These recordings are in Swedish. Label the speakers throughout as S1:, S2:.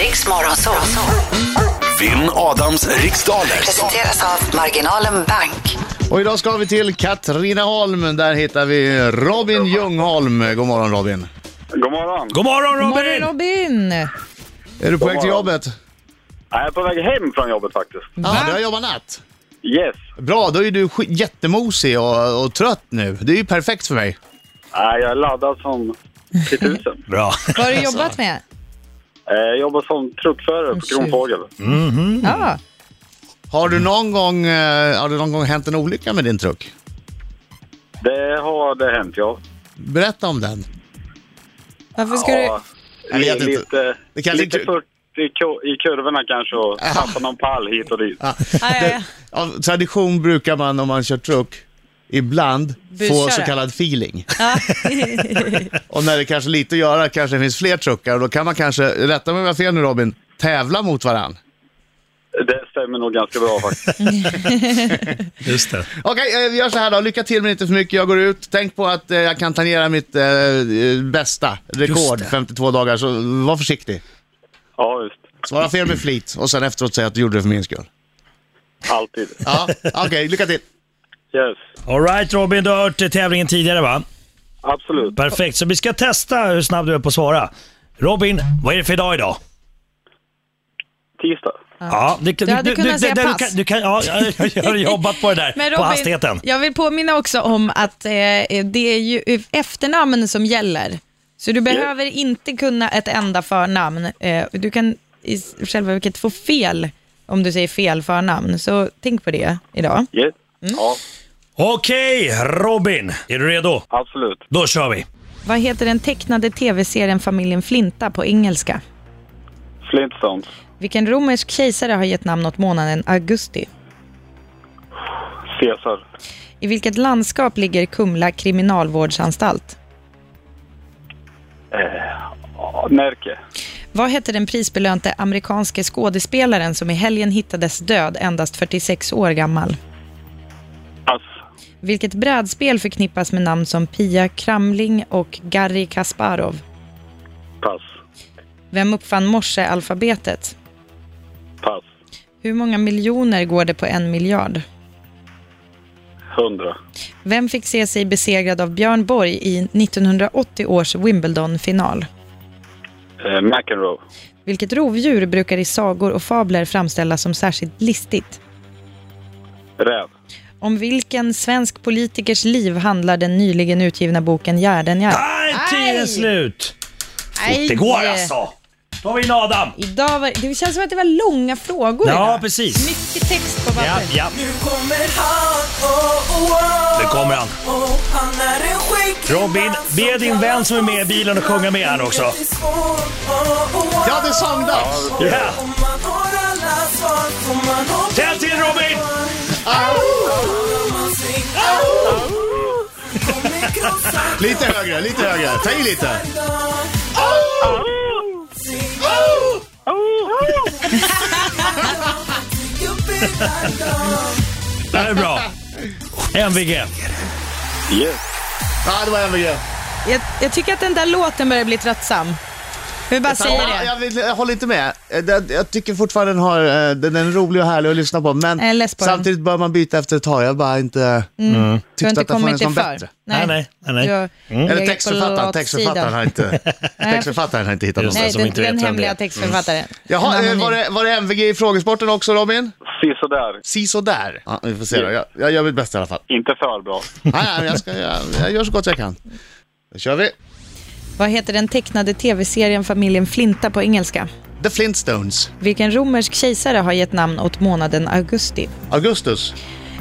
S1: Riks Morgonzoo.
S2: Vinn Adams riksdaler.
S1: Presenteras av Marginalen Bank.
S3: Och idag ska vi till Katrineholm. Där hittar vi Robin Ljungholm. God morgon Robin.
S4: God morgon.
S5: God morgon
S6: Morgon
S5: Robin!
S6: Robin!
S3: Är du på väg till
S4: morgon.
S3: jobbet?
S4: Jag är på väg hem från jobbet faktiskt.
S3: Ja, du har jobbat natt.
S4: Yes.
S3: Bra, då är du sk- jättemosig och, och trött nu. Det är ju perfekt för mig.
S4: Nej, jag är laddad som till tusen.
S5: Bra.
S6: Vad har du jobbat med?
S4: Eh, Jag jobbar som truckförare på Kronfågel.
S6: Ja.
S3: Har, du någon gång, eh, har det någon gång hänt en olycka med din truck?
S4: Det har det hänt, ja.
S3: Berätta om den.
S6: Varför ska
S4: ja
S3: Jag vet inte.
S4: lite
S3: Det kanske
S4: lite
S3: inte- Ah.
S4: furt i, ku- i kurvorna kanske och tappar någon pall hit och dit.
S6: du... Aj, aj, aj.
S3: Av tradition brukar man om man kör truck ibland få
S6: Busköra.
S3: så kallad feeling. och när det kanske är lite att göra kanske det finns fler truckar och då kan man kanske, rätta mig om jag har fel nu Robin, tävla mot varann.
S4: Det stämmer nog ganska bra faktiskt.
S5: Just det.
S3: Okej, eh, vi gör så här då. Lycka till men inte för mycket. Jag går ut. Tänk på att eh, jag kan tangera mitt eh, eh, bästa rekord,
S5: det.
S3: 52 dagar, så var försiktig.
S4: Ja, just.
S3: Svara fel med flit och sen efteråt säga att du gjorde det för min skull.
S4: Alltid.
S3: Ja, okej, lycka till. Ah.
S4: Yes.
S5: Alright Robin, du har hört eh, tävlingen tidigare va?
S4: Absolut.
S5: Perfekt, så vi ska testa hur snabb du är på att svara. Robin, vad är det för dag idag?
S4: Tisdag.
S5: Ja, det,
S6: Du hade kunnat säga
S5: det- du
S6: pass.
S5: kan, du kan, ja, jag- jag har jobbat på det där,
S6: Men
S5: på
S6: Robin,
S5: hastigheten.
S6: jag vill påminna också om att eh, det är ju efternamn som gäller. Så du behöver inte kunna ett enda förnamn. Eh, du kan i själva verket få fel om du säger fel förnamn. Så tänk på det idag.
S4: Yes. Ja,
S5: Okej Robin, är du redo?
S4: absolut.
S5: Då kör vi.
S6: Vad heter den tecknade tv-serien Familjen Flinta på engelska?
S4: Flintstones.
S6: Vilken romersk kejsare har gett namn åt månaden augusti?
S4: Caesar.
S6: I vilket landskap ligger Kumla kriminalvårdsanstalt?
S4: Eh, Ja, Närke.
S6: Vad hette den prisbelönte amerikanske skådespelaren som i helgen hittades död, endast 46 år gammal?
S4: Pass.
S6: Vilket brädspel förknippas med namn som Pia Kramling och Garry Kasparov?
S4: Pass.
S6: Vem uppfann morsealfabetet?
S4: Pass.
S6: Hur många miljoner går det på en miljard?
S4: Hundra.
S6: Vem fick se sig besegrad av Björn Borg i 1980 års Wimbledon-final?
S4: Eh, McEnroe.
S6: Vilket rovdjur brukar i sagor och fabler framställas som särskilt listigt?
S4: Räv.
S6: Om vilken svensk politikers liv handlar den nyligen utgivna boken Järdenjärn?
S5: Nej, tiden är slut! Ah, Det går alltså! Då har vi in Adam.
S6: Idag var, det känns som att det var långa frågor
S5: Ja,
S6: idag.
S5: precis.
S6: Mycket text på
S5: Ja,
S6: papper.
S5: ja,
S7: Nu kommer han, oh, oh, oh.
S5: nu kommer han.
S7: Oh, han är en skicklig
S5: Robin,
S7: man
S5: be
S7: som
S5: din
S7: kan
S5: vän som är med i bilen att sjunga med här också.
S7: Oh, oh, oh.
S3: Ja, det är sångdags!
S5: Yeah.
S7: Om man har alla svar får man hoppas
S5: Tänd till Robin!
S7: att man segrar. Kommer krossa
S3: Lite högre, lite högre. Ta i lite.
S7: dagen. Upp hela dagen.
S5: Det här är bra. MVG.
S4: Yes.
S3: Ja, det var MVG.
S6: Jag, jag tycker att den där låten börjar bli tröttsam. Jag vill bara säga
S3: Ja,
S6: det.
S3: jag, vill, jag håller inte med. Eh, det- Jag tycker fortfarande den, har, eh, den är rolig och härlig att lyssna på, men
S6: Jag är less på den. Mm.
S3: samtidigt bör man byta efter ett tag. Jag bara inte
S6: Du har
S3: tyckte
S6: inte
S3: att det funnits
S6: kommit
S3: någon
S6: dig för.
S3: bättre.
S5: Nej, nej, nej, nej. Mm.
S6: Du har
S3: Eller
S6: legat på
S3: textförfattaren,
S6: latsidan.
S3: textförfattaren har inte, textförfattaren har inte hittat någon.
S5: Just det.
S6: Nej,
S5: som
S6: den,
S5: inte vet
S6: den
S5: vem
S6: hemliga
S5: det är. Mm.
S6: textförfattaren.
S3: Jaha, eh, var det, var det MVG i frågesporten också Robin?
S4: Sisådär.
S3: Si sådär. Ja, vi får se då. Jag, jag gör mitt bästa i alla fall.
S4: Inte för bra.
S3: Nej, nej, men jag, ska, jag, jag gör så gott jag kan. Då kör vi.
S6: Vad heter den tecknade tv-serien Familjen Flinta på engelska?
S3: The Flintstones.
S6: Vilken romersk kejsare har gett namn åt månaden augusti?
S3: Augustus.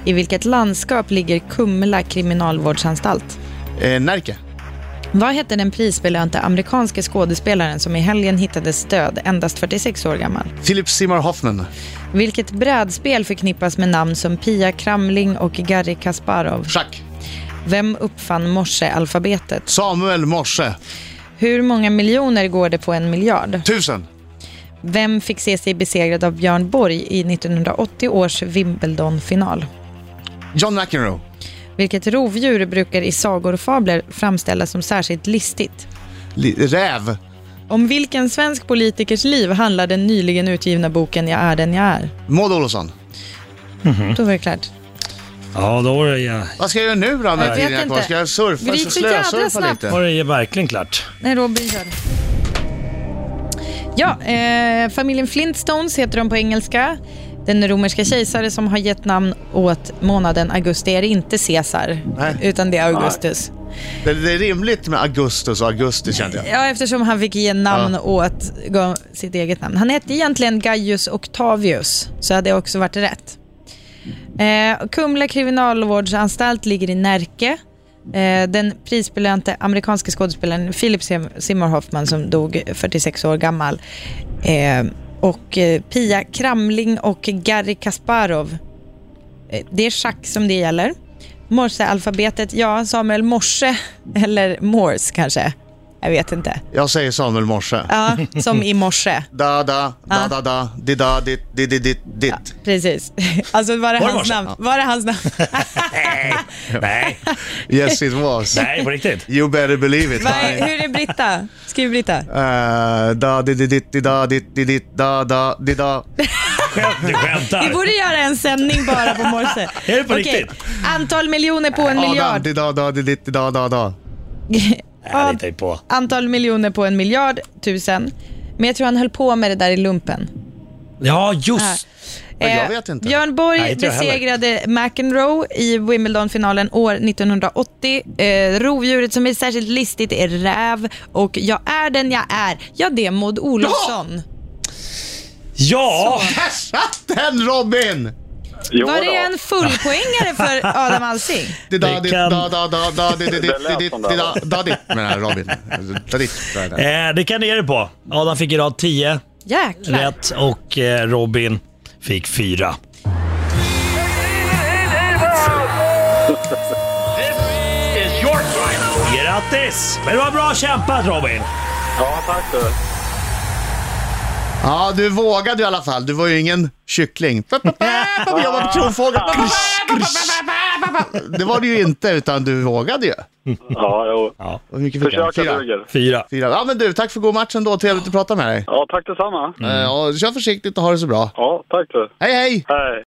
S6: I vilket landskap ligger Kumla kriminalvårdsanstalt?
S3: Eh, Närke.
S6: Vad hette den prisbelönte amerikanske skådespelaren som i helgen hittades död, endast 46 år gammal?
S3: Philip Seymour Hoffman.
S6: Vilket brädspel förknippas med namn som Pia Kramling och Garry Kasparov?
S3: Schack.
S6: Vem uppfann morsealfabetet?
S3: Samuel Morse.
S6: Hur många miljoner går det på en miljard?
S3: Tusen.
S6: Vem fick se sig besegrad av Björn Borg i 1980 års Wimbledon-final?
S3: John McEnroe.
S6: Vilket rovdjur brukar i sagor och fabler framställas som särskilt listigt?
S3: Li- räv.
S6: Om vilken svensk politikers liv handlar den nyligen utgivna boken Jag är den jag är?
S3: Maud Olofsson. Mm.
S6: Då var det klart.
S5: Ja, då var det, ja.
S3: Vad ska jag göra nu då
S6: vet
S3: när tiden är kvar?
S6: inte.
S3: Ska jag surfa?
S6: Bryt
S3: Ska jag
S6: så jävla
S3: slösurfa
S6: snabbt.
S5: var
S3: lite?
S5: det ju verkligen klart.
S6: Nej, Robin gör det. Ja, eh, familjen Flintstones heter de på engelska. Den romerska kejsare som har gett namn åt månaden augusti är inte Caesar,
S3: Nej.
S6: utan det är Augustus.
S3: Det, det är rimligt med Augustus och augusti kände jag.
S6: Ja, eftersom han fick ge namn åt gav sitt eget namn. Han hette egentligen Gaius Octavius, så hade det också varit rätt. Eh, Kumla kriminalvårdsanstalt ligger i Närke. Eh, den prisbelönte amerikanske skådespelaren Philip Sim- Seymour Hoffman som dog 46 år gammal. Eh, och eh, Pia Kramling och Garry Kasparov. Eh, det är schack som det gäller. Morsealfabetet, ja, Samuel Morse, eller Morse kanske. Jag vet inte.
S3: Jag säger Samuel Morse.
S6: Ja, som i morse.
S3: Da, da, da,
S6: Ja.
S3: da, da, di, da, dit, di, di, dit, ditt.
S6: Precis. Alltså var det
S5: Var
S6: hans
S5: det morse?
S6: namn? Var det hans namn?
S5: Nej, nej,
S3: Yes it was.
S5: nej på riktigt.
S3: You better believe it.
S6: Vad är, hur är Britta? Skriv Britta.
S3: Eh, da, di, di, ditt, di, da, ditt, di, ditt, da, da, di, da.
S5: Skämt, du
S6: Vi
S5: skämtar.
S6: borde göra en sändning bara på morse.
S5: Är det på
S6: Okej.
S5: riktigt?
S6: Antal miljoner på en
S3: Adam,
S6: miljard.
S3: di, da, da, di, ditt, di, da, da, da.
S5: Nej, det är på.
S6: Antal miljoner på en miljard, tusen. Men jag tror han höll på med det där i lumpen.
S5: Ja, just.
S3: Men jag
S6: Eh,
S3: vet inte.
S6: Björn Borg
S5: Nej, inte jag heller.
S6: besegrade McEnroe i Wimbledon-finalen år 1980. Eh, rovdjuret som är särskilt listigt är räv och jag är den jag är. Ja, det är Maud Olofsson.
S5: Ja,
S3: Där satt den Robin!
S4: Jo
S6: Var det
S4: då.
S6: en fullpoängare för Adam Alsing?
S3: Di, da,
S5: Det
S3: di,
S5: kan-
S3: da, da, da, da, di, di, ditt, di,
S4: Det lät
S3: ditt,
S4: som
S3: di,
S4: det,
S3: da,
S4: va?
S3: da, ditt, menar jag, Robin. Da, ditt, tror jag det är.
S5: eh, det kan du ge dig på. Adam fick idag 10
S6: Jäklar.
S5: rätt och eh, Robin fick 4. Grattis! Men det var bra kämpat Robin.
S4: Ja, tack du.
S3: Ja, du vågade i alla fall. Du var ju ingen kyckling. Jag jobbar på Kronfågel. Det var du ju inte, utan du vågade ju.
S4: Ja, jo.
S5: Ja,
S3: Och hur mycket fick han?
S4: Försöka
S3: Fyra.
S4: duger.
S5: 4.
S3: Fyra. Ja, men du, tack för god match ändå. Trevligt att prata med dig.
S4: Ja, tack detsamma.
S3: Eh, och kör försiktigt och ha det så bra.
S4: Ja, tack du.
S3: Hej, hej!
S4: Hej.